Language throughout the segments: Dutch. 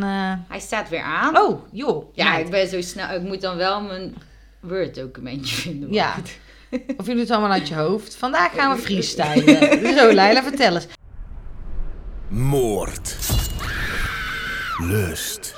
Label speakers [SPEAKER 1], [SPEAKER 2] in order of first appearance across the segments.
[SPEAKER 1] dan... eh,
[SPEAKER 2] Hij staat weer aan.
[SPEAKER 1] Oh, joh.
[SPEAKER 2] ja,
[SPEAKER 1] meid.
[SPEAKER 2] ik ben zo snel. Ik moet dan wel mijn Word documentje vinden. maar
[SPEAKER 1] Ja.
[SPEAKER 2] goed.
[SPEAKER 1] Of jullie het allemaal uit je hoofd. Vandaag gaan we freestylen. Zo, Leila, vertel eens.
[SPEAKER 3] Moord. Lust.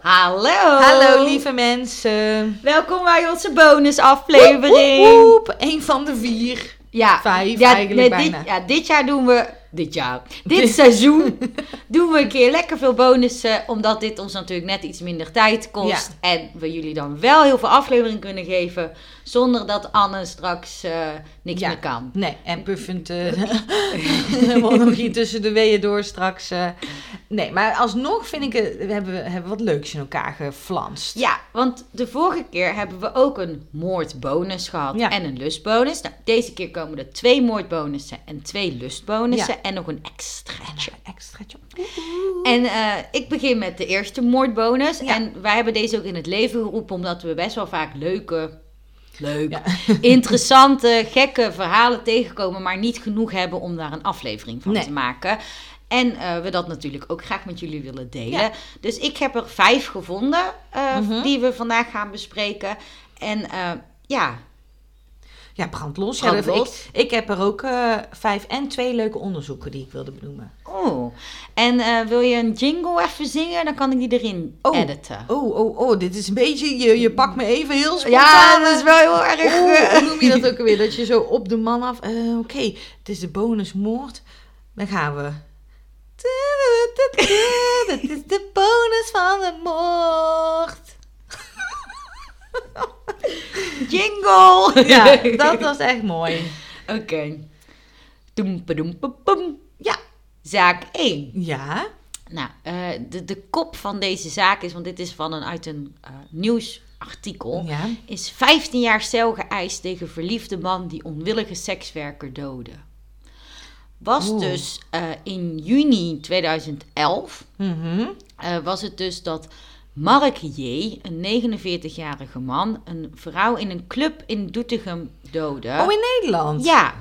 [SPEAKER 2] Hallo.
[SPEAKER 1] Hallo, lieve mensen.
[SPEAKER 2] Welkom bij onze bonusaflevering.
[SPEAKER 1] Woep, woep. Eén van de vier.
[SPEAKER 2] Ja,
[SPEAKER 1] Vijf
[SPEAKER 2] ja,
[SPEAKER 1] eigenlijk
[SPEAKER 2] nee, dit-
[SPEAKER 1] bijna.
[SPEAKER 2] ja, dit jaar doen we. Dit jaar. Dit seizoen doen we een keer lekker veel bonussen. Omdat dit ons natuurlijk net iets minder tijd kost. En we jullie dan wel heel veel aflevering kunnen geven. Zonder dat Anne straks eh, niks
[SPEAKER 1] Ja.
[SPEAKER 2] meer kan.
[SPEAKER 1] Nee, en puffend. eh, helemaal nog hier tussen de weeën door straks. eh. Nee, maar alsnog vind ik, eh, we hebben, we hebben wat leuks in elkaar geflanst.
[SPEAKER 2] Ja, want de vorige keer hebben we ook een moordbonus gehad
[SPEAKER 1] Ja.
[SPEAKER 2] en een lustbonus. Nou, deze keer komen er twee moordbonussen en twee lustbonussen en nog een extraatje.
[SPEAKER 1] Extraatje.
[SPEAKER 2] En eh, ik begin met de eerste moordbonus.
[SPEAKER 1] Ja.
[SPEAKER 2] En wij hebben deze ook in het leven geroepen, omdat we best wel vaak leuke, leuk,
[SPEAKER 1] Ja.
[SPEAKER 2] interessante, gekke verhalen tegenkomen, maar niet genoeg hebben om daar een aflevering van
[SPEAKER 1] Nee.
[SPEAKER 2] te maken. En eh, we dat natuurlijk ook graag met jullie willen delen.
[SPEAKER 1] Ja.
[SPEAKER 2] Dus ik heb er vijf gevonden eh,
[SPEAKER 1] Mhm.
[SPEAKER 2] die we vandaag gaan bespreken. En eh, ja,
[SPEAKER 1] Ja, brandlos. Ja,
[SPEAKER 2] Brand
[SPEAKER 1] dat-
[SPEAKER 2] los.
[SPEAKER 1] Ik, ik heb er ook eh, vijf en twee leuke onderzoeken die ik wilde benoemen.
[SPEAKER 2] oh. En eh, wil je een jingle even zingen? Dan kan ik die erin
[SPEAKER 1] Oh.
[SPEAKER 2] editen.
[SPEAKER 1] Oh, oh, oh, dit is een beetje, je, je pakt me even heel spontaan. eh.
[SPEAKER 2] Ja, dat is wel heel erg.
[SPEAKER 1] Oeh,
[SPEAKER 2] eh,
[SPEAKER 1] hoe noem je dat ook weer? Dat je zo op de man af. eh, Oké, het is de bonusmoord. Dan gaan we. Het is de bonus van de moord.
[SPEAKER 2] Jingle!
[SPEAKER 1] Ja, dat was echt mooi.
[SPEAKER 2] Oké. Doempedoempepum.
[SPEAKER 1] Ja.
[SPEAKER 2] Zaak 1.
[SPEAKER 1] Ja.
[SPEAKER 2] Nou, eh, de, de kop van deze zaak is, want dit is van een, uit een eh, nieuwsartikel,
[SPEAKER 1] Ja.
[SPEAKER 2] is 15 jaar cel geëist tegen verliefde man die onwillige sekswerker doodde. Was
[SPEAKER 1] Oeh.
[SPEAKER 2] dus eh, in juni 2011,
[SPEAKER 1] Mhm.
[SPEAKER 2] eh, was het dus dat Mark J., een 49-jarige man, een vrouw in een club in Doetinchem doodde.
[SPEAKER 1] Oh, in Nederland.
[SPEAKER 2] Ja,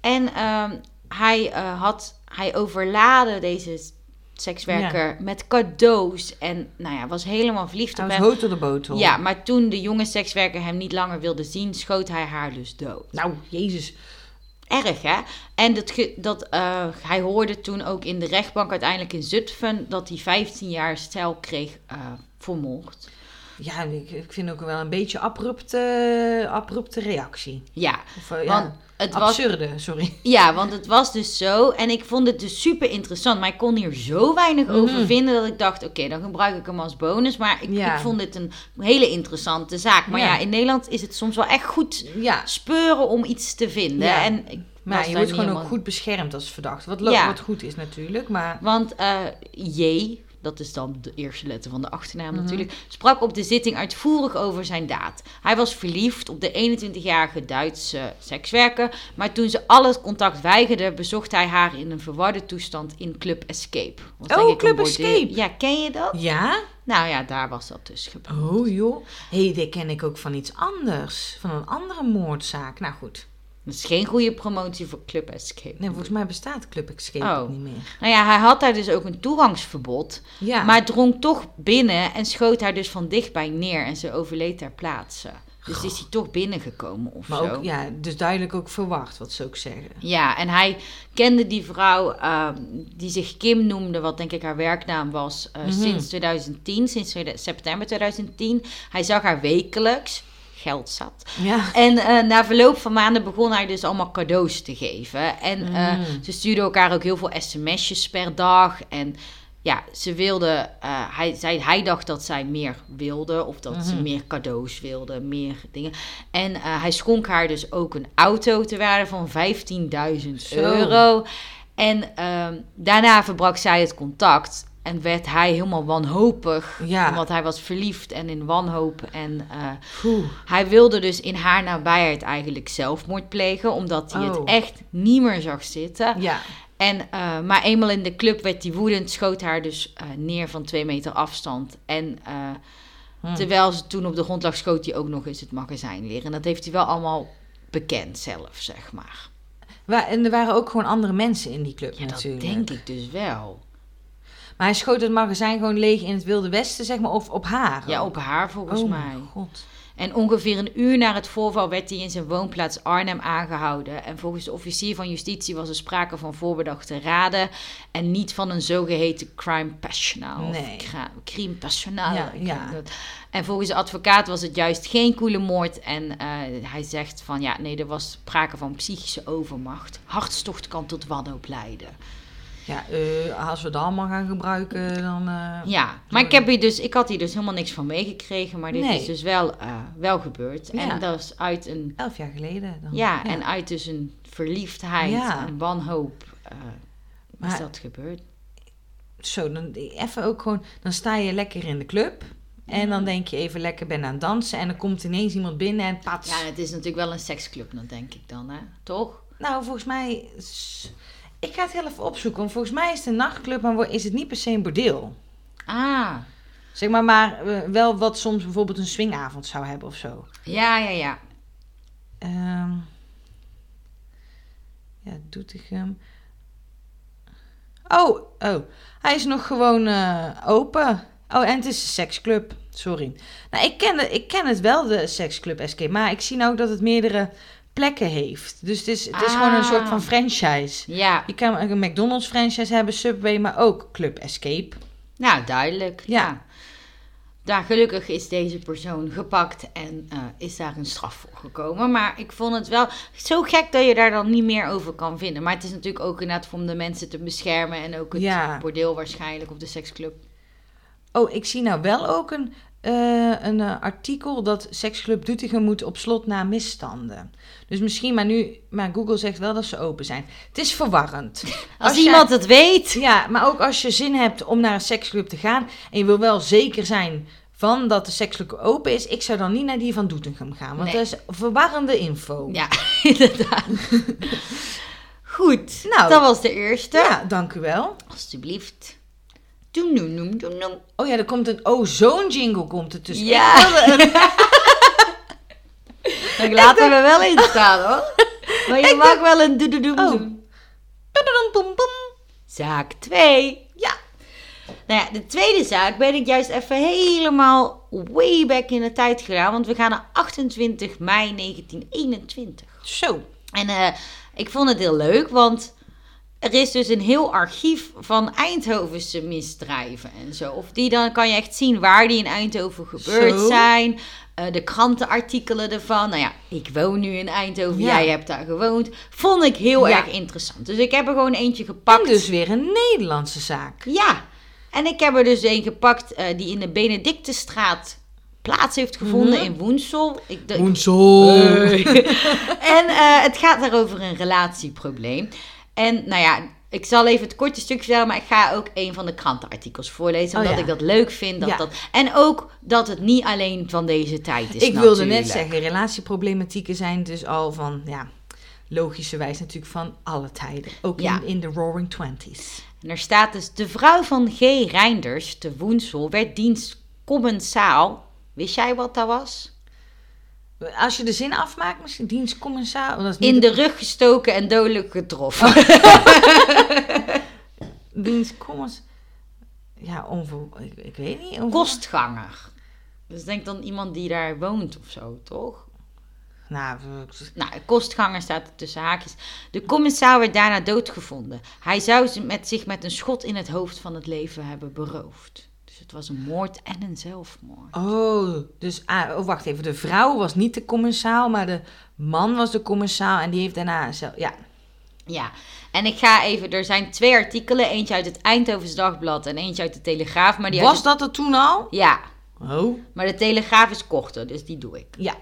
[SPEAKER 2] en ehm, hij, eh, had, hij overlaadde deze s- sekswerker met cadeaus. En nou ja, was helemaal verliefd
[SPEAKER 1] Hij
[SPEAKER 2] op
[SPEAKER 1] was
[SPEAKER 2] hem.
[SPEAKER 1] hoog door de botel.
[SPEAKER 2] Ja, maar toen de jonge sekswerker hem niet langer wilde zien, schoot hij haar dus dood.
[SPEAKER 1] Nou, jezus.
[SPEAKER 2] Erg, hè? En dat, ge- dat, eh, hij hoorde toen ook in de rechtbank uiteindelijk in Zutphen... dat hij 15 jaar cel kreeg eh, voor moord.
[SPEAKER 1] Ja, ik, ik vind ook wel een beetje abrupte, abrupte reactie.
[SPEAKER 2] Ja,
[SPEAKER 1] Of, eh, ja,
[SPEAKER 2] want het was
[SPEAKER 1] absurde, sorry.
[SPEAKER 2] Ja, want het was dus zo. En ik vond het dus super interessant. Maar ik kon hier zo weinig over vinden dat ik dacht: oké, dan gebruik ik hem als bonus. Maar ik,
[SPEAKER 1] Mhm. Ja.
[SPEAKER 2] ik vond dit een hele interessante zaak. Maar ja.
[SPEAKER 1] Ja.
[SPEAKER 2] in Nederland is het soms wel echt goed
[SPEAKER 1] Ja,
[SPEAKER 2] speuren om iets te vinden.
[SPEAKER 1] Ja.
[SPEAKER 2] En ik was
[SPEAKER 1] maar je
[SPEAKER 2] daar
[SPEAKER 1] wordt
[SPEAKER 2] niet
[SPEAKER 1] gewoon ook
[SPEAKER 2] helemaal-
[SPEAKER 1] goed beschermd als verdachte. Wat, leuk,
[SPEAKER 2] Ja.
[SPEAKER 1] wat goed is natuurlijk, maar...
[SPEAKER 2] Want eh, J, dat is dan de eerste letter van de achternaam
[SPEAKER 1] Mhm.
[SPEAKER 2] natuurlijk, sprak op de zitting uitvoerig over zijn daad. Hij was verliefd op de 21-jarige Duitse sekswerker, maar toen ze al het contact weigerde, bezocht hij haar in een verwarde toestand in Club Escape. Was
[SPEAKER 1] Oh,
[SPEAKER 2] denk ik een
[SPEAKER 1] Club
[SPEAKER 2] bordeel.
[SPEAKER 1] Escape.
[SPEAKER 2] Ja, ken je dat?
[SPEAKER 1] Ja?
[SPEAKER 2] Nou ja, daar was dat dus gebeurd.
[SPEAKER 1] Oh joh. Hé, hey, dit ken ik ook van iets anders. Van een andere moordzaak. Nou goed.
[SPEAKER 2] Dat is geen goede promotie voor Club Escape.
[SPEAKER 1] Nee, volgens mij bestaat Club Escape
[SPEAKER 2] Oh.
[SPEAKER 1] ook niet meer.
[SPEAKER 2] Nou ja, hij had daar dus ook een toegangsverbod,
[SPEAKER 1] Ja.
[SPEAKER 2] maar drong toch binnen en schoot haar dus van dichtbij neer en ze overleed ter plaatse. Dus is hij toch binnengekomen of
[SPEAKER 1] maar
[SPEAKER 2] zo.
[SPEAKER 1] ook, ja, dus duidelijk ook verwacht wat ze ook zeggen.
[SPEAKER 2] Ja, en hij kende die vrouw ehm, die zich Kim noemde, wat denk ik haar werknaam was,
[SPEAKER 1] Mhm.
[SPEAKER 2] eh, sinds 2010, sinds 2000 september 2010. Hij zag haar wekelijks, geld zat.
[SPEAKER 1] Ja.
[SPEAKER 2] En eh, na verloop van maanden begon hij dus allemaal cadeaus te geven. En eh,
[SPEAKER 1] Mm.
[SPEAKER 2] ze stuurden elkaar ook heel veel sms'jes per dag. En ja, ze wilde, eh, hij, zij, hij dacht dat zij meer wilde. Of dat
[SPEAKER 1] Mm.
[SPEAKER 2] ze meer cadeaus wilde, meer dingen. En eh, hij schonk haar dus ook een auto te waarde van 15.000
[SPEAKER 1] Zo.
[SPEAKER 2] euro. En ehm, daarna verbrak zij het contact. En werd hij helemaal wanhopig.
[SPEAKER 1] Ja.
[SPEAKER 2] Omdat hij was verliefd en in wanhoop. En eh,
[SPEAKER 1] Phew.
[SPEAKER 2] hij wilde dus in haar nabijheid eigenlijk zelfmoord plegen, omdat hij het
[SPEAKER 1] Oh.
[SPEAKER 2] echt niet meer zag zitten.
[SPEAKER 1] Ja.
[SPEAKER 2] En, eh, maar eenmaal in de club werd hij woedend, schoot haar dus eh, neer van twee meter afstand. En eh,
[SPEAKER 1] Hmm.
[SPEAKER 2] terwijl ze toen op de grond lag, schoot hij ook nog eens het magazijn leer. En dat heeft hij wel allemaal bekend zelf, zeg maar.
[SPEAKER 1] Wa- En er waren ook gewoon andere mensen in die club
[SPEAKER 2] Ja, dat
[SPEAKER 1] natuurlijk.
[SPEAKER 2] denk ik dus wel.
[SPEAKER 1] Maar hij schoot het magazijn gewoon leeg in het Wilde Westen, zeg maar, of op haar.
[SPEAKER 2] Ja, op haar volgens
[SPEAKER 1] oh,
[SPEAKER 2] mij.
[SPEAKER 1] Mijn god.
[SPEAKER 2] En ongeveer een uur na het voorval werd hij in zijn woonplaats Arnhem aangehouden. En volgens de officier van justitie was er sprake van voorbedachte raden en niet van een zogeheten crime passional.
[SPEAKER 1] Nee.
[SPEAKER 2] Of cra- crime passional.
[SPEAKER 1] Ja,
[SPEAKER 2] ik
[SPEAKER 1] ja.
[SPEAKER 2] weet het. En volgens de advocaat was het juist geen koele moord. En eh, hij zegt van ja, nee, er was sprake van psychische overmacht. Hartstocht kan tot wanhoop leiden.
[SPEAKER 1] Ja, eh, als we dat allemaal gaan gebruiken, dan... eh,
[SPEAKER 2] Ja, maar ik, heb hier dus, ik had hier dus helemaal niks van meegekregen. Maar dit
[SPEAKER 1] Nee.
[SPEAKER 2] is dus wel, eh, wel gebeurd.
[SPEAKER 1] Ja.
[SPEAKER 2] En dat is uit een
[SPEAKER 1] Elf jaar geleden. Dan.
[SPEAKER 2] Ja, en uit dus een verliefdheid
[SPEAKER 1] Oh, Ja.
[SPEAKER 2] en wanhoop eh,
[SPEAKER 1] Maar-
[SPEAKER 2] is dat gebeurd.
[SPEAKER 1] Zo, dan even ook gewoon... Dan sta je lekker in de club. En
[SPEAKER 2] Mhm.
[SPEAKER 1] dan denk je even lekker ben aan het dansen. En dan komt ineens iemand binnen en pats.
[SPEAKER 2] Ja, het is natuurlijk wel een seksclub dan, denk ik dan, hè? Toch?
[SPEAKER 1] Nou, volgens mij... is- Ik ga het heel even opzoeken. Want volgens mij is het een nachtclub, maar wo- is het niet per se een bordeel.
[SPEAKER 2] Ah,
[SPEAKER 1] Zeg maar, maar eh, wel wat soms bijvoorbeeld een swingavond zou hebben of zo.
[SPEAKER 2] ja, ja, ja.
[SPEAKER 1] Ehm ja, Doetinchem. Oh, oh, hij is nog gewoon eh, open. Oh, en het is een seksclub. Sorry. Nou, ik ken, de, ik ken het wel, de seksclub SK. Maar ik zie nou dat het meerdere plekken heeft. Dus het is, het is
[SPEAKER 2] Ah.
[SPEAKER 1] gewoon een soort van franchise.
[SPEAKER 2] Ja,
[SPEAKER 1] Je kan een McDonald's franchise hebben, Subway, maar ook Club Escape.
[SPEAKER 2] nou duidelijk.
[SPEAKER 1] Ja.
[SPEAKER 2] Ja. Daar gelukkig is deze persoon gepakt en eh, is daar een straf voor gekomen. Maar ik vond het wel zo gek dat je daar dan niet meer over kan vinden. Maar het is natuurlijk ook inderdaad om de mensen te beschermen en ook het
[SPEAKER 1] Ja.
[SPEAKER 2] bordeel waarschijnlijk of de seksclub.
[SPEAKER 1] Oh, ik zie nou wel ook een, eh, een eh, artikel dat seksclub Doetinchem moet op slot na misstanden. Dus misschien, maar nu, maar Google zegt wel dat ze open zijn. Het is verwarrend.
[SPEAKER 2] Als,
[SPEAKER 1] jij-
[SPEAKER 2] iemand het weet,
[SPEAKER 1] Ja, maar ook als je zin hebt om naar een seksclub te gaan en je wil wel zeker zijn van dat de seksclub open is, ik zou dan niet naar die van Doetinchem gaan, want
[SPEAKER 2] Nee.
[SPEAKER 1] dat is verwarrende info.
[SPEAKER 2] Ja, inderdaad. Goed,
[SPEAKER 1] Nou.
[SPEAKER 2] dat was de eerste.
[SPEAKER 1] Ja, dank u wel.
[SPEAKER 2] Alsjeblieft. Doem, doem, doem, doem, doem.
[SPEAKER 1] Oh ja, er komt een, oh zo'n jingle komt er tussen.
[SPEAKER 2] Ja.
[SPEAKER 1] Ik wilde een-
[SPEAKER 2] Ik laat hem er wel in staan hoor. Maar je mag wel een doe, doe, doem,
[SPEAKER 1] Oh.
[SPEAKER 2] doem.
[SPEAKER 1] Tududum, pum, pum.
[SPEAKER 2] Zaak 2.
[SPEAKER 1] Ja.
[SPEAKER 2] Nou ja, de tweede zaak ben ik juist even helemaal way back in de tijd gedaan. Want we gaan naar 28 mei 1921.
[SPEAKER 1] Zo.
[SPEAKER 2] En eh, ik vond het heel leuk, want er is dus een heel archief van Eindhovense misdrijven en zo. Of die dan kan je echt zien waar die in Eindhoven gebeurd
[SPEAKER 1] Zo.
[SPEAKER 2] zijn. eh, de krantenartikelen ervan. Nou ja, ik woon nu in Eindhoven,
[SPEAKER 1] Ja.
[SPEAKER 2] jij hebt daar gewoond. Vond ik heel
[SPEAKER 1] Ja.
[SPEAKER 2] erg interessant. Dus ik heb er gewoon eentje
[SPEAKER 1] En
[SPEAKER 2] gepakt.
[SPEAKER 1] dus weer een Nederlandse zaak.
[SPEAKER 2] Ja, en ik heb er dus een gepakt eh, die in de Benedictenstraat plaats heeft gevonden
[SPEAKER 1] Mhm.
[SPEAKER 2] in Woensel. Ik,
[SPEAKER 1] Eh,
[SPEAKER 2] d-
[SPEAKER 1] Woensel.
[SPEAKER 2] en eh, het gaat daar over een relatieprobleem. En nou ja, ik zal even het korte stukje vertellen, maar ik ga ook een van de krantenartikels voorlezen.
[SPEAKER 1] Oh,
[SPEAKER 2] Omdat
[SPEAKER 1] ja.
[SPEAKER 2] ik dat leuk vind. Dat
[SPEAKER 1] Ja.
[SPEAKER 2] dat, en ook dat het niet alleen van deze tijd is.
[SPEAKER 1] ik wilde net
[SPEAKER 2] natuurlijk.
[SPEAKER 1] zeggen, relatieproblematieken zijn dus al van, ja, logischerwijs natuurlijk van alle tijden. Ook
[SPEAKER 2] Ja.
[SPEAKER 1] in, in de Roaring Twenties.
[SPEAKER 2] En er staat dus: de vrouw van G. Reinders te Woensel werd dienstcommensaal. Wist jij wat dat was?
[SPEAKER 1] Als je de zin afmaakt, misschien dienstcommissaris. Dat is niet Oh.
[SPEAKER 2] In de rug gestoken en dodelijk getroffen.
[SPEAKER 1] de dienstcommis. Ja, onver, ik, ik weet niet. onver-
[SPEAKER 2] Kostganger. Dus denk dan iemand die daar woont of zo, toch?
[SPEAKER 1] Nou, v-
[SPEAKER 2] Nou, kostganger staat er tussen haakjes. De commissaal werd daarna doodgevonden. Hij zou ze met zich met een schot in het hoofd van het leven hebben beroofd. Dus het was een moord en een zelfmoord.
[SPEAKER 1] oh, dus, ah, oh, wacht even. De vrouw was niet de commensaal, maar de man was de commensaal. En die heeft daarna zelf, ja.
[SPEAKER 2] Ja, en ik ga even... Er zijn twee artikelen. Eentje uit het Eindhovens Dagblad en eentje uit de Telegraaf. Maar die uit
[SPEAKER 1] Was dat er toen al?
[SPEAKER 2] het- Ja,
[SPEAKER 1] Oh,
[SPEAKER 2] maar de Telegraaf is korter, dus die doe ik.
[SPEAKER 1] ja.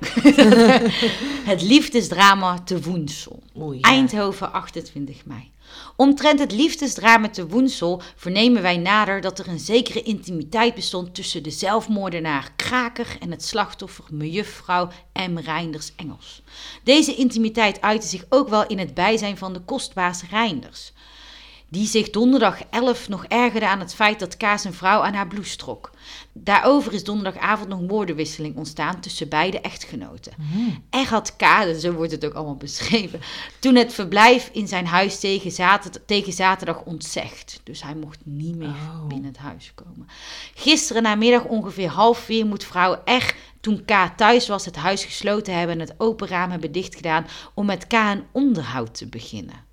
[SPEAKER 2] Het liefdesdrama te Woensel.
[SPEAKER 1] Oei, ja.
[SPEAKER 2] Eindhoven, 28 mei. Omtrent het liefdesdrama te Woensel vernemen wij nader dat er een zekere intimiteit bestond tussen de zelfmoordenaar Kraker en het slachtoffer mejuffrouw M. Reinders Engels. Deze intimiteit uitte zich ook wel in het bijzijn van de kostbaas Reinders. die zich donderdag 11 nog ergerde aan het feit dat Kaas een vrouw aan haar blouse trok. Daarover is donderdagavond nog woordenwisseling ontstaan tussen beide echtgenoten. Er had K, dus zo wordt het ook allemaal beschreven, toen het verblijf in zijn huis tegen, zater- tegen zaterdag ontzegd. Dus hij mocht niet meer
[SPEAKER 1] Oh.
[SPEAKER 2] binnen het huis komen. Gisteren namiddag ongeveer half vier moet vrouw R, toen K thuis was, het huis gesloten hebben en het open raam hebben dichtgedaan om met K een onderhoud te beginnen.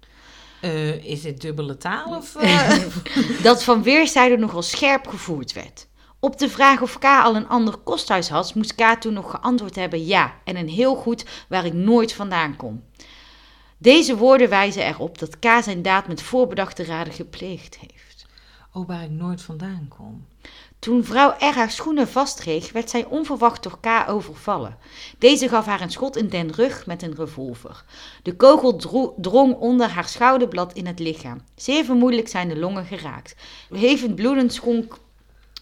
[SPEAKER 1] Eh, is dit dubbele taal of... eh?
[SPEAKER 2] dat van weerszijden nogal scherp gevoerd werd. Op de vraag of K al een ander kosthuis had, moest K toen nog geantwoord hebben ja en een heel goed waar ik nooit vandaan kom. Deze woorden wijzen erop dat K zijn daad met voorbedachte raden gepleegd heeft.
[SPEAKER 1] oh, waar ik nooit vandaan kom.
[SPEAKER 2] Toen vrouw R haar schoenen vastkreeg, werd zij onverwacht door K overvallen. Deze gaf haar een schot in den rug met een revolver. De kogel dro- drong onder haar schouderblad in het lichaam. Zeer vermoedelijk zijn de longen geraakt. Hevend bloedend schonk,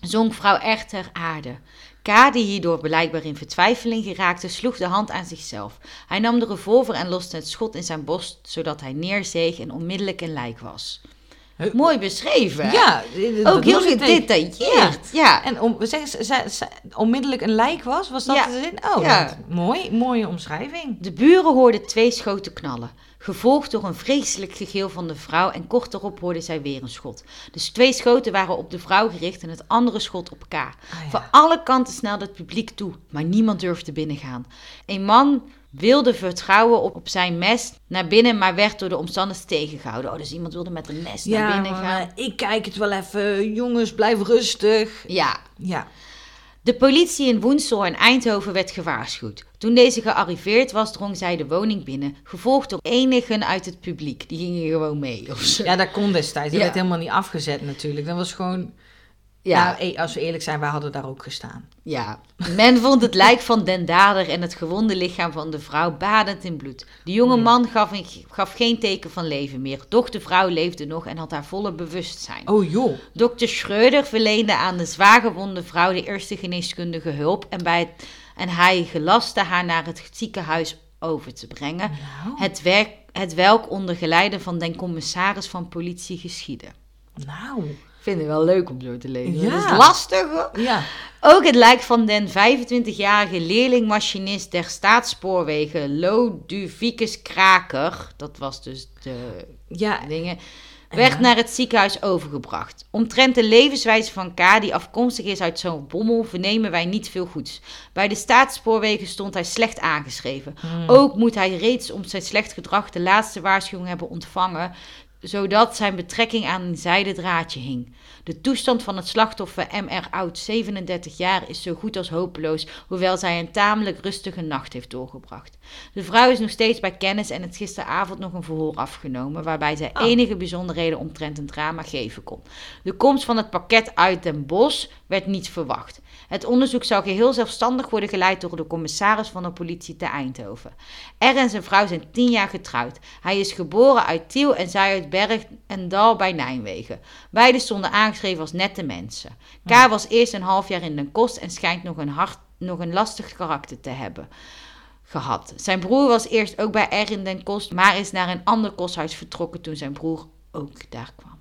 [SPEAKER 2] zonk vrouw R ter aarde. K, die hierdoor blijkbaar in vertwijfeling geraakte, sloeg de hand aan zichzelf. Hij nam de revolver en loste het schot in zijn borst, zodat hij neerzeeg en onmiddellijk een lijk was.
[SPEAKER 1] Huh?
[SPEAKER 2] Mooi beschreven. hè?
[SPEAKER 1] Ja, eh, dat
[SPEAKER 2] Ook heel
[SPEAKER 1] las ik tegen-
[SPEAKER 2] gedetailleerd. Ja.
[SPEAKER 1] En om, zeg, ze, ze- ze- onmiddellijk een lijk was, was dat
[SPEAKER 2] Ja.
[SPEAKER 1] de zin? Oh,
[SPEAKER 2] Ja.
[SPEAKER 1] dat- mooi, mooie omschrijving.
[SPEAKER 2] De buren hoorden twee schoten knallen, gevolgd door een vreselijk gegil van de vrouw en kort daarop hoorden zij weer een schot. Dus twee schoten waren op de vrouw gericht en het andere schot op K.
[SPEAKER 1] ja.
[SPEAKER 2] Van alle kanten snelde het publiek toe, maar niemand durfde binnengaan. Een man wilde vertrouwen op, op zijn mes naar binnen, maar werd door de omstanders tegengehouden. Oh, dus iemand wilde met een mes naar binnen gaan.
[SPEAKER 1] ik kijk het wel even. Jongens, blijf rustig.
[SPEAKER 2] Ja,
[SPEAKER 1] Ja.
[SPEAKER 2] De politie in Woensel en Eindhoven werd gewaarschuwd. Toen deze gearriveerd was, drong zij de woning binnen, gevolgd door enigen uit het publiek. Die gingen gewoon mee of zo.
[SPEAKER 1] ja, dat kon destijds. Dat
[SPEAKER 2] Ja.
[SPEAKER 1] werd helemaal niet afgezet natuurlijk. Dat was gewoon...
[SPEAKER 2] Ja,
[SPEAKER 1] Nou, eh, als we eerlijk zijn, wij hadden daar ook gestaan.
[SPEAKER 2] ja. Men vond het lijk van den dader en het gewonde lichaam van de vrouw badend in bloed. De jonge man gaf, een, gaf geen teken van leven meer, doch de vrouw leefde nog en had haar volle bewustzijn.
[SPEAKER 1] Oh joh.
[SPEAKER 2] Dokter Schreuder verleende aan de zwaargewonde vrouw de eerste geneeskundige hulp en, bij het- en hij gelastte haar naar het ziekenhuis over te brengen.
[SPEAKER 1] Nou,
[SPEAKER 2] Het, werk, het welk onder geleide van den commissaris van politie geschiedde.
[SPEAKER 1] nou.
[SPEAKER 2] Ik vind het wel leuk om zo te lezen.
[SPEAKER 1] Ja.
[SPEAKER 2] Dat is lastig hoor.
[SPEAKER 1] Ja.
[SPEAKER 2] Ook het lijk van den 25-jarige leerlingmachinist der staatsspoorwegen Lodovicus Kraker, dat was dus de
[SPEAKER 1] Ja,
[SPEAKER 2] dingen, werd naar het ziekenhuis overgebracht. Omtrent de levenswijze van K, die afkomstig is uit zo'n bommel, vernemen wij niet veel goeds. Bij de staatsspoorwegen stond hij slecht aangeschreven.
[SPEAKER 1] Hmm.
[SPEAKER 2] Ook moet hij reeds om zijn slecht gedrag de laatste waarschuwing hebben ontvangen, zodat zijn betrekking aan een zijden draadje hing. De toestand van het slachtoffer MR Oud, 37 jaar, is zo goed als hopeloos, hoewel zij een tamelijk rustige nacht heeft doorgebracht. De vrouw is nog steeds bij kennis en is gisteravond nog een verhoor afgenomen, waarbij zij
[SPEAKER 1] Ah.
[SPEAKER 2] enige bijzonderheden omtrent het drama geven kon. De komst van het pakket uit Den Bosch werd niet verwacht. Het onderzoek zou geheel zelfstandig worden geleid door de commissaris van de politie te Eindhoven. Er en zijn vrouw zijn tien jaar getrouwd. Hij is geboren uit Tiel en zij uit Berg en Dal bij Nijmegen. Beiden stonden aangeschreven als nette mensen. K was eerst een half jaar in Den Kost en schijnt nog een, hard, nog een lastig karakter te hebben gehad. Zijn broer was eerst ook bij R in Den Kost, maar is naar een ander kosthuis vertrokken toen zijn broer ook daar kwam.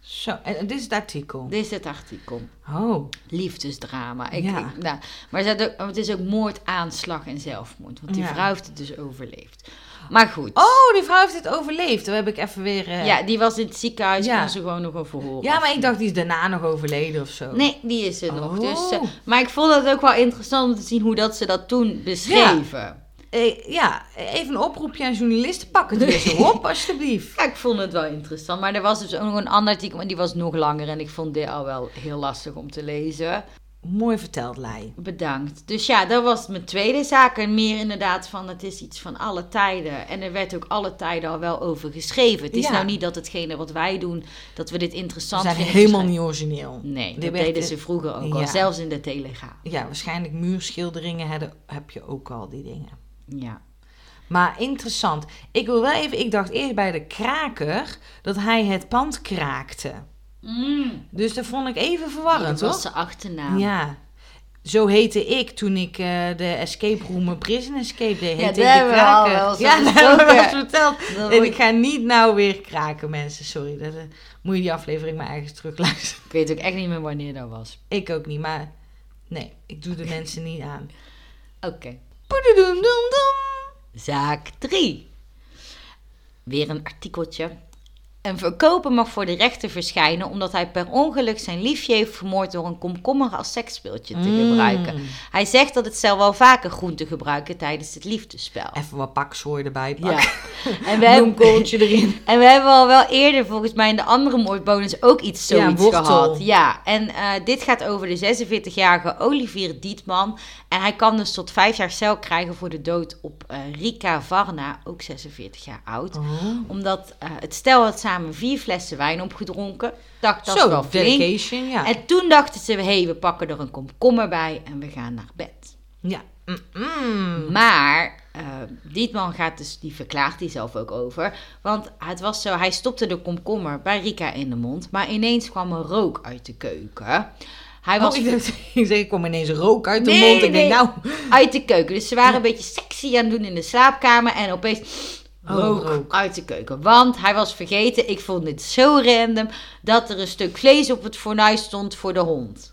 [SPEAKER 1] zo. En dit is het artikel.
[SPEAKER 2] Dit is het artikel.
[SPEAKER 1] Oh.
[SPEAKER 2] Liefdesdrama. Ik,
[SPEAKER 1] Ja.
[SPEAKER 2] ik- nou, maar het, is ook, het is ook moord, aanslag en zelfmoord. Want die
[SPEAKER 1] Ja.
[SPEAKER 2] vrouw heeft het dus overleefd. Maar goed.
[SPEAKER 1] Oh, die vrouw heeft het overleefd. Daar heb ik even weer... eh,
[SPEAKER 2] Ja, die was in het ziekenhuis,
[SPEAKER 1] Ja.
[SPEAKER 2] kon ze gewoon nog een verhoor.
[SPEAKER 1] ja, maar ik dacht, die is daarna nog overleden of zo.
[SPEAKER 2] Nee, die is er nog.
[SPEAKER 1] Oh.
[SPEAKER 2] Dus, eh, maar ik vond het ook wel interessant om te zien hoe dat ze dat toen beschreven. Ja,
[SPEAKER 1] Eh, ja, even een oproepje aan journalisten. Pak het weer zo op, alsjeblieft.
[SPEAKER 2] ik vond het wel interessant. Maar er was dus ook nog een ander artikel, maar die was nog langer. En ik vond dit al wel heel lastig om te lezen.
[SPEAKER 1] Mooi verteld, Lei.
[SPEAKER 2] Bedankt. Dus ja, dat was mijn tweede zaak. En meer inderdaad van, het is iets van alle tijden. En er werd ook alle tijden al wel over geschreven. Het is
[SPEAKER 1] Ja.
[SPEAKER 2] nou niet dat hetgene wat wij doen, dat we dit
[SPEAKER 1] Ze
[SPEAKER 2] interessant
[SPEAKER 1] zijn
[SPEAKER 2] vinden.
[SPEAKER 1] helemaal niet origineel.
[SPEAKER 2] Nee,
[SPEAKER 1] Dit
[SPEAKER 2] dat
[SPEAKER 1] werd-
[SPEAKER 2] deden ze vroeger ook al.
[SPEAKER 1] Ja.
[SPEAKER 2] Zelfs in de Telegraaf.
[SPEAKER 1] Ja, waarschijnlijk muurschilderingen hadden- heb je ook al, die dingen.
[SPEAKER 2] Ja.
[SPEAKER 1] Maar interessant. Ik wil wel even... Ik dacht eerst bij de kraker dat hij het pand Mm. kraakte. Dus dat vond ik even verwarrend,
[SPEAKER 2] dat was
[SPEAKER 1] hoor.
[SPEAKER 2] zijn achternaam.
[SPEAKER 1] Ja. Zo heette ik toen ik eh, de escape room, prison escape deed. Heette
[SPEAKER 2] Ja, daar
[SPEAKER 1] ik de
[SPEAKER 2] hebben we al
[SPEAKER 1] kraker.
[SPEAKER 2] wel eens
[SPEAKER 1] Ja, dat
[SPEAKER 2] over
[SPEAKER 1] hebben we wel eens
[SPEAKER 2] gesproken.
[SPEAKER 1] verteld. En
[SPEAKER 2] Dan word
[SPEAKER 1] ik
[SPEAKER 2] ik,
[SPEAKER 1] ga niet nou weer kraken, mensen. Sorry, dat, eh, moet je die aflevering maar ergens terugluisteren.
[SPEAKER 2] ik weet ook echt niet meer wanneer dat was.
[SPEAKER 1] Ik ook niet, maar nee, ik doe de mensen niet aan.
[SPEAKER 2] Oké.
[SPEAKER 1] Poededoemdoemdoem.
[SPEAKER 2] Zaak 3. Weer een artikeltje. Een verkoper mag voor de rechter verschijnen omdat hij per ongeluk zijn liefje heeft vermoord door een komkommer als seksspeeltje te
[SPEAKER 1] Mm.
[SPEAKER 2] gebruiken. Hij zegt dat het cel wel vaker groenten gebruiken tijdens het liefdespel.
[SPEAKER 1] Even wat pakzooi erbij
[SPEAKER 2] Ja.
[SPEAKER 1] pakken.
[SPEAKER 2] En we, hebben,
[SPEAKER 1] erin.
[SPEAKER 2] en we hebben al wel eerder volgens mij in de andere moordbonus ook iets
[SPEAKER 1] Ja,
[SPEAKER 2] zoiets
[SPEAKER 1] wortel.
[SPEAKER 2] gehad. Ja, en eh, dit gaat over de 46-jarige Olivier Dietman. En hij kan dus tot vijf jaar cel krijgen voor de dood op eh, Rika Varna, ook 46 jaar oud
[SPEAKER 1] Oh.
[SPEAKER 2] omdat eh, het stel had samen vier flessen wijn opgedronken. Dacht dat is
[SPEAKER 1] Oh. Zo,
[SPEAKER 2] wel flink.
[SPEAKER 1] dedication, ja.
[SPEAKER 2] En toen dachten ze, hé, hey, we pakken er een komkommer bij en we gaan naar bed.
[SPEAKER 1] ja. Mm, mm.
[SPEAKER 2] Maar eh, Dietman gaat dus, die verklaart die zelf ook over. Want het was zo, hij stopte de komkommer bij Rika in de mond. Maar ineens kwam er rook uit de keuken. Hij was
[SPEAKER 1] Oh, ik, dacht, ik zeg, ik kwam ineens rook uit de
[SPEAKER 2] Nee,
[SPEAKER 1] mond. Ik
[SPEAKER 2] nee.
[SPEAKER 1] denk, nou,
[SPEAKER 2] uit de keuken. Dus ze waren een beetje sexy aan het doen in de slaapkamer. En opeens
[SPEAKER 1] Oh,
[SPEAKER 2] rook,
[SPEAKER 1] rook.
[SPEAKER 2] uit de keuken. Want hij was vergeten, ik vond dit zo random, dat er een stuk vlees op het fornuis stond voor de hond.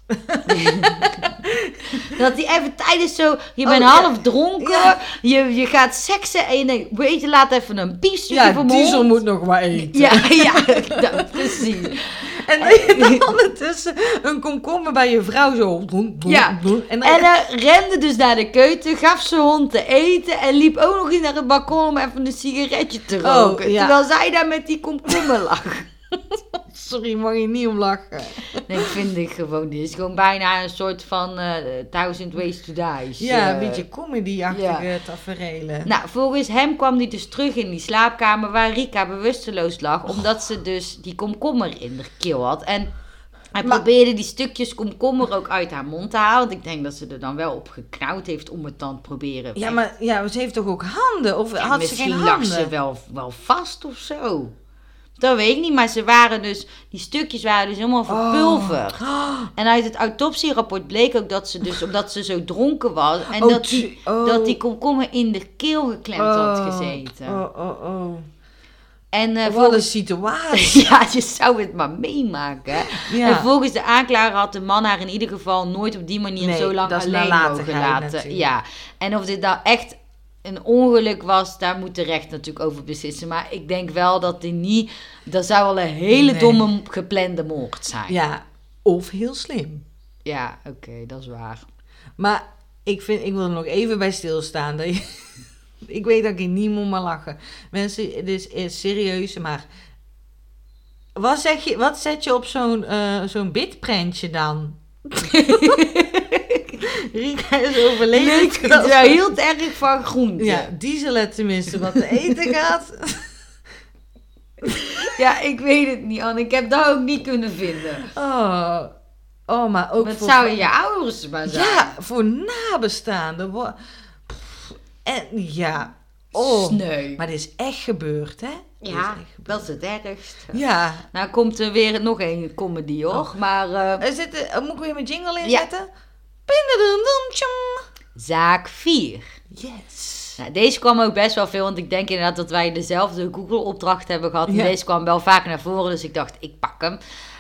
[SPEAKER 2] dat hij even tijdens zo, je
[SPEAKER 1] Oh,
[SPEAKER 2] bent
[SPEAKER 1] ja.
[SPEAKER 2] half dronken,
[SPEAKER 1] Ja.
[SPEAKER 2] je, je gaat seksen en je denkt, weet je, laat even een biefstukje
[SPEAKER 1] ja,
[SPEAKER 2] voor mijn
[SPEAKER 1] diesel
[SPEAKER 2] hond.
[SPEAKER 1] moet nog maar eten.
[SPEAKER 2] Ja, ja, dat- precies.
[SPEAKER 1] En dan je dan ondertussen een komkommer bij je vrouw zo. doen, doen,
[SPEAKER 2] Ja.
[SPEAKER 1] doen. En dan,
[SPEAKER 2] En hij rende dus naar de keuken, gaf zijn hond te eten en liep ook nog eens naar het balkon om even een sigaretje te
[SPEAKER 1] Oh,
[SPEAKER 2] roken.
[SPEAKER 1] ja.
[SPEAKER 2] Terwijl zij daar met die komkommer lag.
[SPEAKER 1] sorry, mag je niet om lachen.
[SPEAKER 2] nee, vind ik gewoon. Dit is gewoon bijna een soort van eh Thousand Ways to Die.
[SPEAKER 1] Ja, een
[SPEAKER 2] Eh,
[SPEAKER 1] beetje comedy-achtige taferelen.
[SPEAKER 2] Nou, volgens hem kwam hij dus terug in die slaapkamer waar Rika bewusteloos lag, omdat ze dus die komkommer in de keel had. En hij
[SPEAKER 1] Maar-
[SPEAKER 2] probeerde die stukjes komkommer ook uit haar mond te halen. Want ik denk dat ze er dan wel op geknauwd heeft om het dan te proberen.
[SPEAKER 1] ja,
[SPEAKER 2] weg
[SPEAKER 1] maar ja, ze heeft toch ook handen? Of
[SPEAKER 2] Ja,
[SPEAKER 1] had ze
[SPEAKER 2] misschien
[SPEAKER 1] geen
[SPEAKER 2] lag
[SPEAKER 1] handen?
[SPEAKER 2] ze wel, wel vast of zo. Dat weet ik niet, maar ze waren dus, die stukjes waren dus helemaal verpulverd.
[SPEAKER 1] Oh,
[SPEAKER 2] En uit het autopsierapport bleek ook dat ze dus, omdat ze zo dronken was, en
[SPEAKER 1] Oh,
[SPEAKER 2] dat, die,
[SPEAKER 1] tu- oh.
[SPEAKER 2] dat die komkommer in de keel geklemd had
[SPEAKER 1] oh,
[SPEAKER 2] gezeten.
[SPEAKER 1] Oh, oh, oh.
[SPEAKER 2] En eh,
[SPEAKER 1] Wat een
[SPEAKER 2] volgens...
[SPEAKER 1] situatie.
[SPEAKER 2] Ja, je zou het maar meemaken. hè. En
[SPEAKER 1] Ja.
[SPEAKER 2] volgens de aanklager had de man haar in ieder geval nooit op die manier
[SPEAKER 1] Nee,
[SPEAKER 2] zo lang
[SPEAKER 1] dat is
[SPEAKER 2] alleen mogen
[SPEAKER 1] nalatigheid
[SPEAKER 2] laten.
[SPEAKER 1] natuurlijk.
[SPEAKER 2] Ja. En of dit nou echt een ongeluk was, daar moet de recht natuurlijk over beslissen. Maar ik denk wel dat dit niet... Dat zou wel een hele
[SPEAKER 1] Nee.
[SPEAKER 2] domme geplande moord zijn. Ja,
[SPEAKER 1] Ja, of heel slim.
[SPEAKER 2] oké, dat is waar.
[SPEAKER 1] Maar ik, vind, ik wil er nog even bij stilstaan. Dat je- ik weet dat ik hier niet moet maar lachen. Mensen, het is, is serieus, maar... Wat, zeg je, wat zet je op zo'n eh zo'n bitprentje dan? Rika is
[SPEAKER 2] Leuk,
[SPEAKER 1] overleden.
[SPEAKER 2] ik daar heel erg van groente.
[SPEAKER 1] Ja,
[SPEAKER 2] Ja.
[SPEAKER 1] diesel het tenminste wat te eten gaat.
[SPEAKER 2] ik weet het niet, Anne. Ik heb dat ook niet kunnen vinden.
[SPEAKER 1] Oh, oh maar ook
[SPEAKER 2] Wat
[SPEAKER 1] voor...
[SPEAKER 2] zouden je ouders maar zijn?
[SPEAKER 1] ja, voor nabestaanden. wa- Pff, En ja, oh.
[SPEAKER 2] Sneu.
[SPEAKER 1] Maar dit is echt gebeurd, hè? Dit
[SPEAKER 2] Ja,
[SPEAKER 1] is echt gebeurd.
[SPEAKER 2] dat is het ergste.
[SPEAKER 1] Ja.
[SPEAKER 2] Nou komt er weer nog een comedy hoor, maar eh,
[SPEAKER 1] Er zit, eh, moet ik weer mijn jingle
[SPEAKER 2] Ja.
[SPEAKER 1] inzetten? Pindadum, tjom.
[SPEAKER 2] zaak 4.
[SPEAKER 1] Yes.
[SPEAKER 2] Nou, deze kwam ook best wel veel, want ik denk inderdaad dat wij dezelfde Google-opdracht hebben gehad. En
[SPEAKER 1] Ja.
[SPEAKER 2] Deze kwam wel vaak naar voren, dus ik dacht, ik pak hem.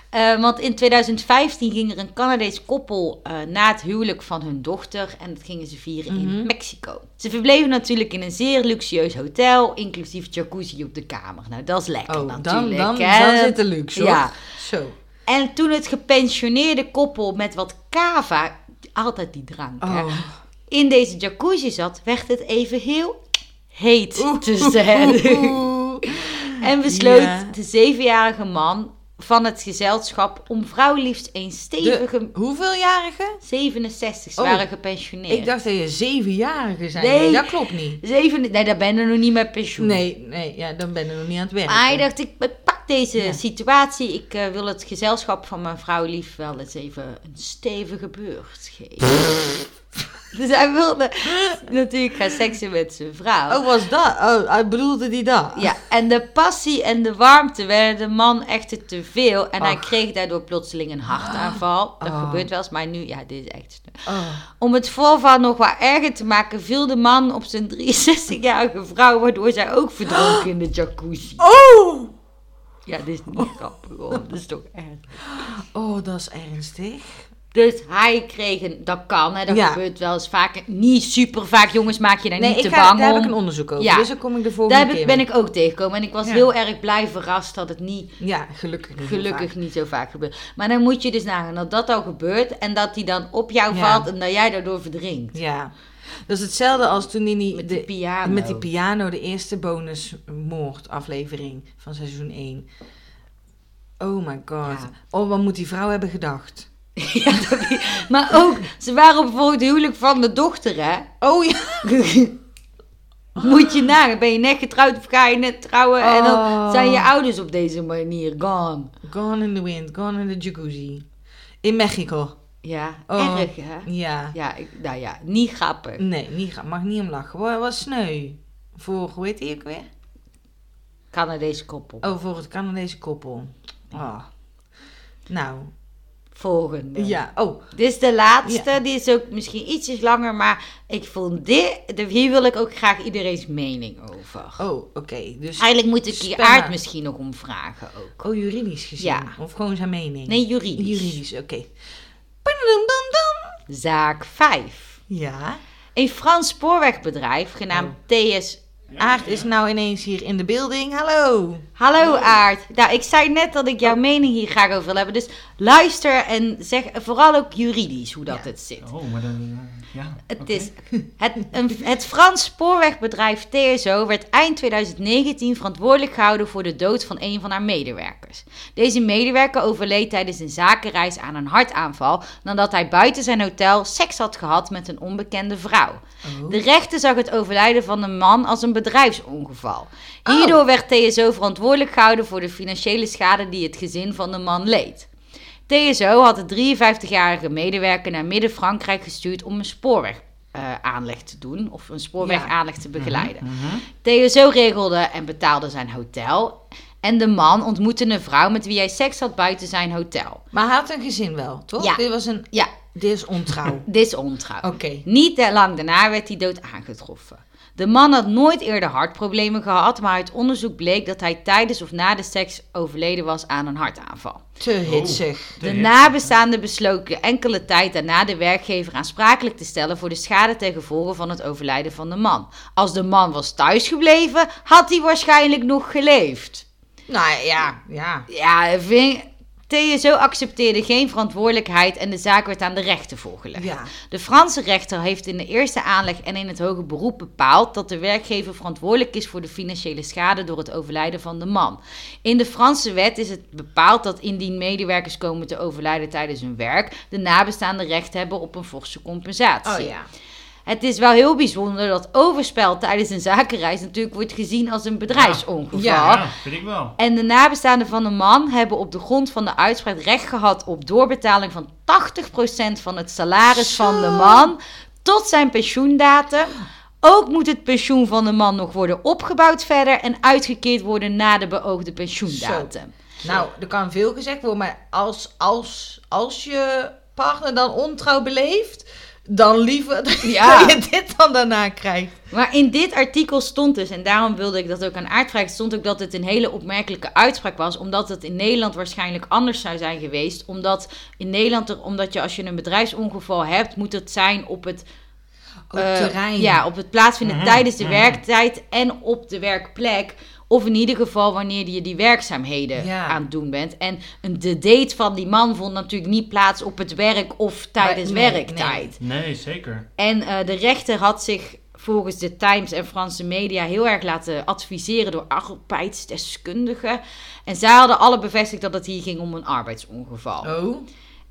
[SPEAKER 2] Eh, want in 2015 ging er een Canadees koppel eh, na het huwelijk van hun dochter. En dat gingen ze vieren in
[SPEAKER 1] Mhm.
[SPEAKER 2] Mexico. Ze verbleven natuurlijk in een zeer luxueus hotel, inclusief jacuzzi op de kamer. Nou, dat is lekker
[SPEAKER 1] Oh, dan, dan,
[SPEAKER 2] natuurlijk.
[SPEAKER 1] dan,
[SPEAKER 2] hè.
[SPEAKER 1] zit de luxe, hoor.
[SPEAKER 2] Ja.
[SPEAKER 1] Zo.
[SPEAKER 2] En toen het gepensioneerde koppel met wat cava, altijd die drank, hè,
[SPEAKER 1] Oh.
[SPEAKER 2] in deze jacuzzi zat, werd het even heel heet
[SPEAKER 1] Dus
[SPEAKER 2] tussen
[SPEAKER 1] Oeh,
[SPEAKER 2] hen.
[SPEAKER 1] oeh.
[SPEAKER 2] En besloot
[SPEAKER 1] Ja.
[SPEAKER 2] de zevenjarige man van het gezelschap om vrouw liefst een stevige...
[SPEAKER 1] De, hoeveeljarige?
[SPEAKER 2] 67
[SPEAKER 1] Oh.
[SPEAKER 2] waren gepensioneerd.
[SPEAKER 1] Ik dacht dat je zevenjarige zijn.
[SPEAKER 2] Nee.
[SPEAKER 1] Dat klopt niet.
[SPEAKER 2] Zeven, nee, daar ben je nog niet met pensioen.
[SPEAKER 1] Nee, nee ja, dan ben je nog niet aan het werken.
[SPEAKER 2] Maar hij dacht, ik pak deze
[SPEAKER 1] eh, Ja.
[SPEAKER 2] situatie. Ik eh, wil het gezelschap van mijn vrouw lief wel eens even een stevige beurt geven. Dus hij wilde natuurlijk gaan seksen met zijn vrouw.
[SPEAKER 1] Oh, was dat? Oh, hij bedoelde die dat?
[SPEAKER 2] Ja, en de passie en de warmte werden de man echter te veel. En hij
[SPEAKER 1] Ach.
[SPEAKER 2] kreeg daardoor plotseling een hartaanval. Dat
[SPEAKER 1] Oh.
[SPEAKER 2] gebeurt wel eens, maar nu, ja, dit is echt...
[SPEAKER 1] Oh.
[SPEAKER 2] Om het voorval nog wat erger te maken, viel de man op zijn 63-jarige vrouw, waardoor zij ook verdronk in de jacuzzi.
[SPEAKER 1] oh!
[SPEAKER 2] Ja, dit is niet grappig hoor, dat is toch erg.
[SPEAKER 1] Oh, dat is ernstig.
[SPEAKER 2] Dus hij kreeg een, dat kan hè, dat
[SPEAKER 1] Ja.
[SPEAKER 2] gebeurt wel eens vaak. Niet super vaak, jongens, maak je daar
[SPEAKER 1] Nee,
[SPEAKER 2] niet
[SPEAKER 1] ik
[SPEAKER 2] te
[SPEAKER 1] ga,
[SPEAKER 2] bang
[SPEAKER 1] daar heb
[SPEAKER 2] om.
[SPEAKER 1] ik een onderzoek over,
[SPEAKER 2] Ja.
[SPEAKER 1] dus daar kom ik de volgende
[SPEAKER 2] Daar heb ik-
[SPEAKER 1] keer mee.
[SPEAKER 2] ben ik ook tegengekomen en ik was
[SPEAKER 1] Ja.
[SPEAKER 2] heel erg blij verrast dat het niet
[SPEAKER 1] Ja, gelukkig. niet
[SPEAKER 2] Gelukkig
[SPEAKER 1] vaak.
[SPEAKER 2] niet zo vaak gebeurt. Maar dan moet je dus nagaan dat dat al gebeurt en dat die dan op jou
[SPEAKER 1] Ja.
[SPEAKER 2] valt en dat jij daardoor verdrinkt.
[SPEAKER 1] Ja. Dat is hetzelfde als toen in die,
[SPEAKER 2] Met
[SPEAKER 1] de-
[SPEAKER 2] die piano.
[SPEAKER 1] met die piano, de eerste bonusmoord aflevering van seizoen 1. Oh my god.
[SPEAKER 2] Ja.
[SPEAKER 1] Oh, wat moet die vrouw hebben gedacht?
[SPEAKER 2] Ja, dat die- maar ook, ze waren op bijvoorbeeld het huwelijk van de dochter, hè?
[SPEAKER 1] Oh ja.
[SPEAKER 2] Moet je nagaan, ben je net getrouwd of ga je net trouwen en dan
[SPEAKER 1] Oh.
[SPEAKER 2] zijn je ouders op deze manier gone.
[SPEAKER 1] Gone in the wind, gone in the jacuzzi. In Mexico.
[SPEAKER 2] Ja,
[SPEAKER 1] Oh.
[SPEAKER 2] erg, hè?
[SPEAKER 1] Ja.
[SPEAKER 2] Ja, ik, nou ja, niet grappig.
[SPEAKER 1] Nee, niet, gra- mag niet om lachen. Wat, wat sneu. Voor, hoe heet die ook weer?
[SPEAKER 2] Canadese koppel.
[SPEAKER 1] Oh, voor het Canadese koppel. Oh. Nou,
[SPEAKER 2] Volgende.
[SPEAKER 1] ja. Oh,
[SPEAKER 2] Dit is de laatste, die is ook misschien ietsjes langer, maar ik vond dit, hier wil ik ook graag iedereen's mening over.
[SPEAKER 1] oh oké. Dus
[SPEAKER 2] Eigenlijk moet ik hier
[SPEAKER 1] Spel maar.
[SPEAKER 2] aard misschien nog om vragen ook.
[SPEAKER 1] Oh, juridisch gezien?
[SPEAKER 2] Ja.
[SPEAKER 1] Of gewoon zijn mening?
[SPEAKER 2] Nee, juridisch.
[SPEAKER 1] Juridisch, oké. Padadumdumdum.
[SPEAKER 2] Zaak 5.
[SPEAKER 1] Ja.
[SPEAKER 2] Een Frans spoorwegbedrijf genaamd
[SPEAKER 1] Oh.
[SPEAKER 2] TS.
[SPEAKER 1] Aard is nou ineens hier in de building. Hallo.
[SPEAKER 2] Hallo Aard. Nou, ik zei net dat ik jouw
[SPEAKER 3] Oh.
[SPEAKER 2] mening hier graag over wil hebben. Dus luister en zeg vooral ook juridisch hoe dat
[SPEAKER 1] Ja.
[SPEAKER 2] het zit.
[SPEAKER 3] Oh, maar dan... eh, ja,
[SPEAKER 2] Het,
[SPEAKER 3] oké.
[SPEAKER 2] is, het, een- het Frans spoorwegbedrijf TSO werd eind 2019 verantwoordelijk gehouden voor de dood van een van haar medewerkers. Deze medewerker overleed tijdens een zakenreis aan een hartaanval nadat hij buiten zijn hotel seks had gehad met een onbekende vrouw.
[SPEAKER 1] Oh.
[SPEAKER 2] De rechter zag het overlijden van de man als een bedrijfsongeval. Hierdoor werd TSO verantwoordelijk gehouden voor de financiële schade die het gezin van de man leed. TSO had de 53-jarige medewerker naar Midden-Frankrijk gestuurd om een spoorweg. eh, aanleg te doen of een spoorwegaanleg te begeleiden. TSO regelde en betaalde zijn hotel. En de man ontmoette een vrouw met wie hij seks had buiten zijn hotel.
[SPEAKER 1] Maar hij had een gezin wel, toch?
[SPEAKER 2] Ja.
[SPEAKER 1] Dit was een...
[SPEAKER 2] Ja,
[SPEAKER 1] Dit is ontrouw.
[SPEAKER 2] dit is ontrouw.
[SPEAKER 1] Oké.
[SPEAKER 2] Niet te lang daarna werd hij dood aangetroffen. De man had nooit eerder hartproblemen gehad, maar uit onderzoek bleek dat hij tijdens of na de seks overleden was aan een hartaanval.
[SPEAKER 1] Te hitsig.
[SPEAKER 2] De nabestaanden besloten enkele tijd daarna de werkgever aansprakelijk te stellen voor de schade ten gevolge van het overlijden van de man. Als de man was thuisgebleven, had hij waarschijnlijk nog geleefd.
[SPEAKER 1] Nou ja, ja.
[SPEAKER 2] Ja, vind... TSO accepteerde geen verantwoordelijkheid en de zaak werd aan de rechter voorgelegd.
[SPEAKER 1] Ja.
[SPEAKER 2] De Franse rechter heeft in de eerste aanleg en in het hoge beroep bepaald dat de werkgever verantwoordelijk is voor de financiële schade door het overlijden van de man. In de Franse wet is het bepaald dat indien medewerkers komen te overlijden tijdens hun werk, de nabestaanden recht hebben op een forse compensatie.
[SPEAKER 1] Oh,
[SPEAKER 2] Het is wel heel bijzonder dat overspel tijdens een zakenreis natuurlijk wordt gezien als een bedrijfsongeval.
[SPEAKER 1] Ja.
[SPEAKER 3] Ja, vind ik wel.
[SPEAKER 2] En de nabestaanden van de man hebben op de grond van de uitspraak recht gehad op doorbetaling van 80% van het salaris
[SPEAKER 1] Zo.
[SPEAKER 2] van de man tot zijn pensioendatum. Ook moet het pensioen van de man nog worden opgebouwd verder en uitgekeerd worden na de beoogde pensioendatum.
[SPEAKER 1] Nou, er kan veel gezegd worden, maar als, als, als je partner dan ontrouw beleeft, dan liever dat
[SPEAKER 2] Ja.
[SPEAKER 1] je dit dan daarna krijgt.
[SPEAKER 2] Maar in dit artikel stond dus, en daarom wilde ik dat ook aan aard vragen, stond ook dat het een hele opmerkelijke uitspraak was, omdat het in Nederland waarschijnlijk anders zou zijn geweest. Omdat in Nederland, er, omdat je als je een bedrijfsongeval hebt, moet het zijn op het
[SPEAKER 1] Op
[SPEAKER 2] Eh,
[SPEAKER 1] terrein.
[SPEAKER 2] Ja, op het plaatsvinden
[SPEAKER 3] Mhm,
[SPEAKER 2] tijdens de
[SPEAKER 3] mhm.
[SPEAKER 2] werktijd en op de werkplek. Of in ieder geval wanneer je die werkzaamheden
[SPEAKER 1] Ja.
[SPEAKER 2] aan het doen bent. En een- de date van die man vond natuurlijk niet plaats op het werk of tijdens
[SPEAKER 1] nee,
[SPEAKER 2] werktijd.
[SPEAKER 3] Nee, zeker.
[SPEAKER 2] En eh, de rechter had zich volgens de Times en Franse media heel erg laten adviseren door arbeidsdeskundigen. En zij hadden alle bevestigd dat het hier ging om een arbeidsongeval.
[SPEAKER 1] Oh.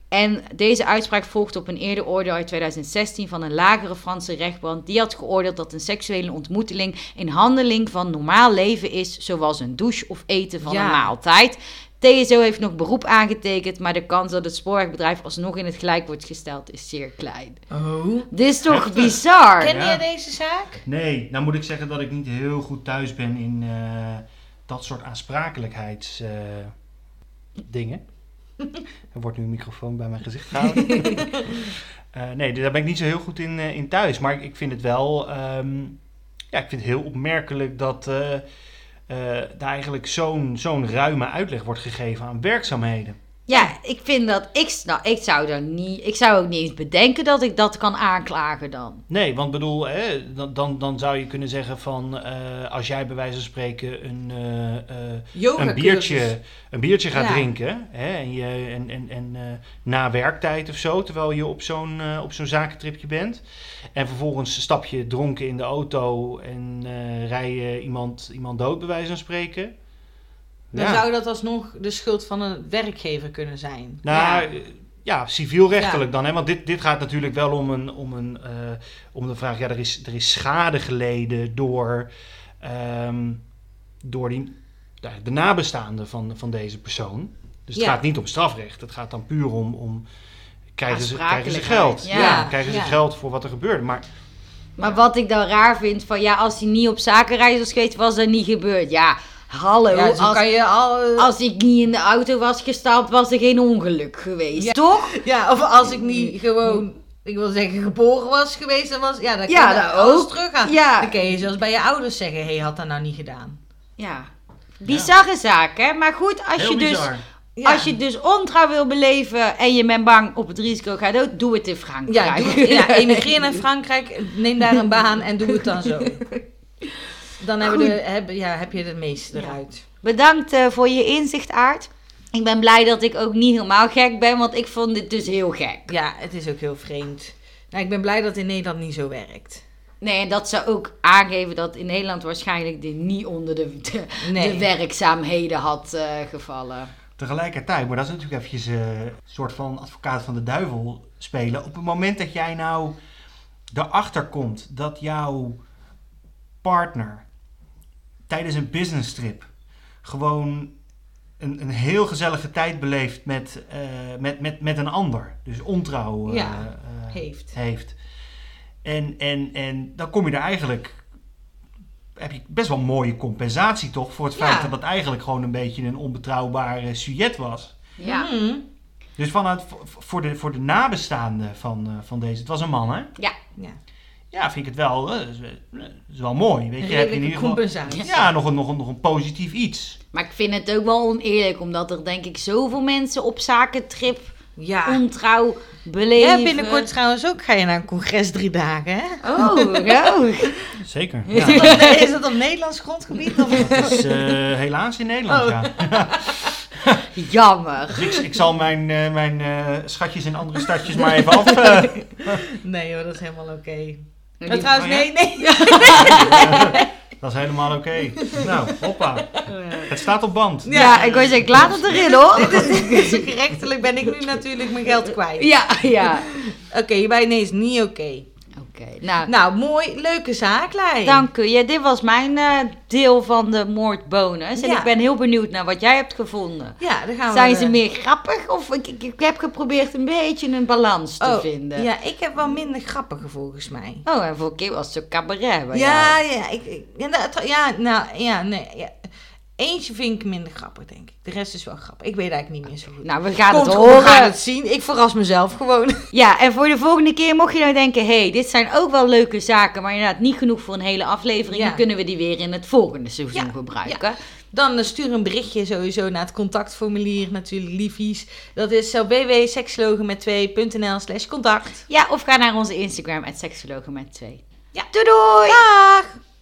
[SPEAKER 2] En deze uitspraak volgt op een eerder oordeel uit 2016 van een lagere Franse rechtbank. Die had geoordeeld dat een seksuele ontmoeteling een handeling van normaal leven is, zoals een douche of eten van
[SPEAKER 1] Ja.
[SPEAKER 2] een maaltijd. TSO heeft nog beroep aangetekend, maar de kans dat het spoorwegbedrijf alsnog in het gelijk wordt gesteld is zeer klein.
[SPEAKER 1] Oh.
[SPEAKER 2] Dit is toch
[SPEAKER 3] Heftig.
[SPEAKER 2] bizar?
[SPEAKER 1] Ken
[SPEAKER 3] Ja.
[SPEAKER 1] je deze zaak?
[SPEAKER 3] Nee, nou moet ik zeggen dat ik niet heel goed thuis ben in eh, dat soort aansprakelijkheidsdingen. dingen. er wordt nu een microfoon bij mijn gezicht gehouden. Eh, nee, dus daar ben ik niet zo heel goed in, eh, in thuis. Maar ik, ik vind het wel... ehm, ja, ik vind het heel opmerkelijk dat eh, eh, daar eigenlijk zo'n zo'n ruime uitleg wordt gegeven aan werkzaamheden.
[SPEAKER 2] Ja, ik vind dat ik snap. Ik zou dan niet. Ik zou ook niet eens bedenken dat ik dat kan aanklagen dan.
[SPEAKER 3] Nee, want bedoel, hè, dan, dan, dan zou je kunnen zeggen van... eh, als jij bij wijze van spreken een... eh, eh,
[SPEAKER 1] Yoga
[SPEAKER 3] een biertje, een biertje gaat
[SPEAKER 1] dus- Ja.
[SPEAKER 3] drinken. Hè, en je, en, en, en eh, na werktijd of zo, terwijl je op zo'n, eh, op zo'n zakentripje bent. En vervolgens stap je dronken in de auto en eh, rij je iemand, iemand dood, bij wijze van spreken.
[SPEAKER 1] Dan
[SPEAKER 3] Ja.
[SPEAKER 1] zou dat alsnog de schuld van een werkgever kunnen zijn.
[SPEAKER 3] Nou,
[SPEAKER 2] Ja.
[SPEAKER 3] ja, ja civielrechtelijk dan. Hè? Want dit, dit gaat natuurlijk wel om, een, om, een, eh, om de vraag... Ja, er is, er is schade geleden door, ehm, door die, de, de nabestaanden van, van deze persoon. Dus het
[SPEAKER 1] Ja.
[SPEAKER 3] gaat niet om strafrecht. Het gaat dan puur om... om krijgen, ze, krijgen ze
[SPEAKER 2] Aansprakelijkheid,
[SPEAKER 3] geld?
[SPEAKER 2] ja.
[SPEAKER 3] krijgen
[SPEAKER 1] Ja.
[SPEAKER 3] ze geld voor wat er gebeurt. Maar
[SPEAKER 2] Maar wat ik dan raar vind van ja, als hij niet op zakenreis was geweest, was dat niet gebeurd. Ja, hallo.
[SPEAKER 1] Ja, zo
[SPEAKER 2] als,
[SPEAKER 1] kan je al...
[SPEAKER 2] als ik niet in de auto was gestapt, was er geen ongeluk geweest,
[SPEAKER 1] Ja.
[SPEAKER 2] toch?
[SPEAKER 1] Ja, of als ik
[SPEAKER 2] Mm.
[SPEAKER 1] niet gewoon, ik wil zeggen, geboren was geweest, dan was, ja, dan
[SPEAKER 2] Ja,
[SPEAKER 1] kan je
[SPEAKER 2] dat
[SPEAKER 1] alles
[SPEAKER 2] ook.
[SPEAKER 1] teruggaan.
[SPEAKER 2] Ja.
[SPEAKER 1] Dan kun je zelfs bij je ouders zeggen, hé, hey, had dat nou niet gedaan.
[SPEAKER 2] Ja. Bizarre zaak, hè? Maar goed, als
[SPEAKER 3] heel
[SPEAKER 2] je dus.
[SPEAKER 3] bizar.
[SPEAKER 1] Ja.
[SPEAKER 2] Als je dus ontrouw wil beleven en je bent bang op het risico gaat dood, doe het in
[SPEAKER 1] ja,
[SPEAKER 2] Frankrijk.
[SPEAKER 1] doe, ja, emigreer naar Frankrijk, neem daar een baan en doe het dan zo. Dan hebben
[SPEAKER 2] Goed.
[SPEAKER 1] de, heb, ja, heb je het meeste
[SPEAKER 2] Ja.
[SPEAKER 1] eruit.
[SPEAKER 2] Bedankt eh, voor je inzicht, Aard. Ik ben blij dat ik ook niet helemaal gek ben, want ik vond dit dus heel gek.
[SPEAKER 1] Ja, het is ook heel vreemd. Nou, ik ben blij dat het in Nederland niet zo werkt.
[SPEAKER 2] Nee, en dat zou ook aangeven dat in Nederland waarschijnlijk dit niet onder de, de,
[SPEAKER 1] Nee.
[SPEAKER 2] de werkzaamheden had eh, gevallen.
[SPEAKER 3] Tegelijkertijd, maar dat is natuurlijk eventjes eh, een soort van advocaat van de duivel spelen. Op het moment dat jij nou erachter komt dat jouw partner tijdens een business trip gewoon een, een heel gezellige tijd beleeft met, eh, met, met, met een ander. Dus ontrouw eh,
[SPEAKER 1] Ja,
[SPEAKER 3] eh,
[SPEAKER 1] heeft.
[SPEAKER 3] heeft. En, en, en dan kom je er eigenlijk. Heb je best wel mooie compensatie toch? Voor het
[SPEAKER 1] Ja.
[SPEAKER 3] feit dat dat eigenlijk gewoon een beetje een onbetrouwbare sujet was.
[SPEAKER 2] Ja,
[SPEAKER 1] Mhm.
[SPEAKER 3] Dus vanuit, voor- voor, de, voor de nabestaanden van, eh, van deze. Het was een man, hè?
[SPEAKER 2] ja.
[SPEAKER 1] Ja,
[SPEAKER 3] Ja, vind ik het wel. eh, is, eh, is wel mooi. Weet je, heb je in
[SPEAKER 1] redelijke
[SPEAKER 3] ieder geval.
[SPEAKER 1] compensatie.
[SPEAKER 3] Ja, nog een, nog, een, nog een positief iets.
[SPEAKER 2] Maar ik vind het ook wel oneerlijk, omdat er denk ik zoveel mensen op zakentrip
[SPEAKER 1] Ja.
[SPEAKER 2] ontrouw beleven.
[SPEAKER 1] Ja, binnenkort trouwens ook ga je naar een congres drie dagen, hè?
[SPEAKER 2] Oh, nou.
[SPEAKER 3] Zeker.
[SPEAKER 1] Is dat op, nee, is dat op Nederlands grondgebied? Of?
[SPEAKER 3] Dat is eh, helaas in Nederland,
[SPEAKER 1] Oh.
[SPEAKER 3] ja.
[SPEAKER 2] Jammer.
[SPEAKER 3] Dus ik, ik zal mijn, eh, mijn eh, schatjes in andere stadjes maar even af. eh,
[SPEAKER 1] Nee hoor, dat is helemaal oké.
[SPEAKER 2] Nou,
[SPEAKER 1] Maar
[SPEAKER 2] die-
[SPEAKER 1] trouwens,
[SPEAKER 3] oh ja?
[SPEAKER 1] nee, nee.
[SPEAKER 3] Dat is helemaal oké. Nou, hoppa. Het staat op band.
[SPEAKER 2] Ja, ik wou zeggen, ik laat het erin hoor.
[SPEAKER 1] dus Gerechtelijk ben ik nu natuurlijk mijn geld kwijt.
[SPEAKER 2] Ja, ja.
[SPEAKER 1] Oké, hierbij nee is niet oké.
[SPEAKER 2] Oké, nou,
[SPEAKER 1] Nou, mooi, leuke zaak, Lei.
[SPEAKER 2] dank u. Ja, dit was mijn eh, deel van de moordbonus. En
[SPEAKER 1] Ja.
[SPEAKER 2] ik ben heel benieuwd naar wat jij hebt gevonden.
[SPEAKER 1] Ja, dan gaan we...
[SPEAKER 2] Zijn ze
[SPEAKER 1] eh,
[SPEAKER 2] meer grappig of ik, ik, ik heb geprobeerd een beetje een balans te
[SPEAKER 1] oh,
[SPEAKER 2] vinden?
[SPEAKER 1] Ja, ik heb wel minder grappige volgens mij.
[SPEAKER 2] Oh, en voor keer was het zo'n cabaret bij
[SPEAKER 1] Ja,
[SPEAKER 2] jou.
[SPEAKER 1] ja, ik, ik- ja, dat- ja, nou, ja, nee. ja. Eentje vind ik minder grappig, denk ik. De rest is wel grappig. Ik weet eigenlijk niet meer zo goed.
[SPEAKER 2] Nou, we gaan
[SPEAKER 1] Komt
[SPEAKER 2] het
[SPEAKER 1] goed, we
[SPEAKER 2] horen.
[SPEAKER 1] gaan het zien. Ik verras mezelf gewoon.
[SPEAKER 2] Ja, en voor de volgende keer mocht je nou denken... hé, hey, dit zijn ook wel leuke zaken... maar inderdaad niet genoeg voor een hele aflevering...
[SPEAKER 1] Ja.
[SPEAKER 2] dan kunnen we die weer in het volgende seizoen
[SPEAKER 1] Ja,
[SPEAKER 2] gebruiken.
[SPEAKER 1] Dan eh, stuur een berichtje sowieso naar het contactformulier, natuurlijk liefies. Dat is www.sekslogen met 2.nl slash contact.
[SPEAKER 2] Ja, of ga naar onze Instagram, @seksologen met 2.
[SPEAKER 1] Ja.
[SPEAKER 2] Doei doei!
[SPEAKER 1] Dag!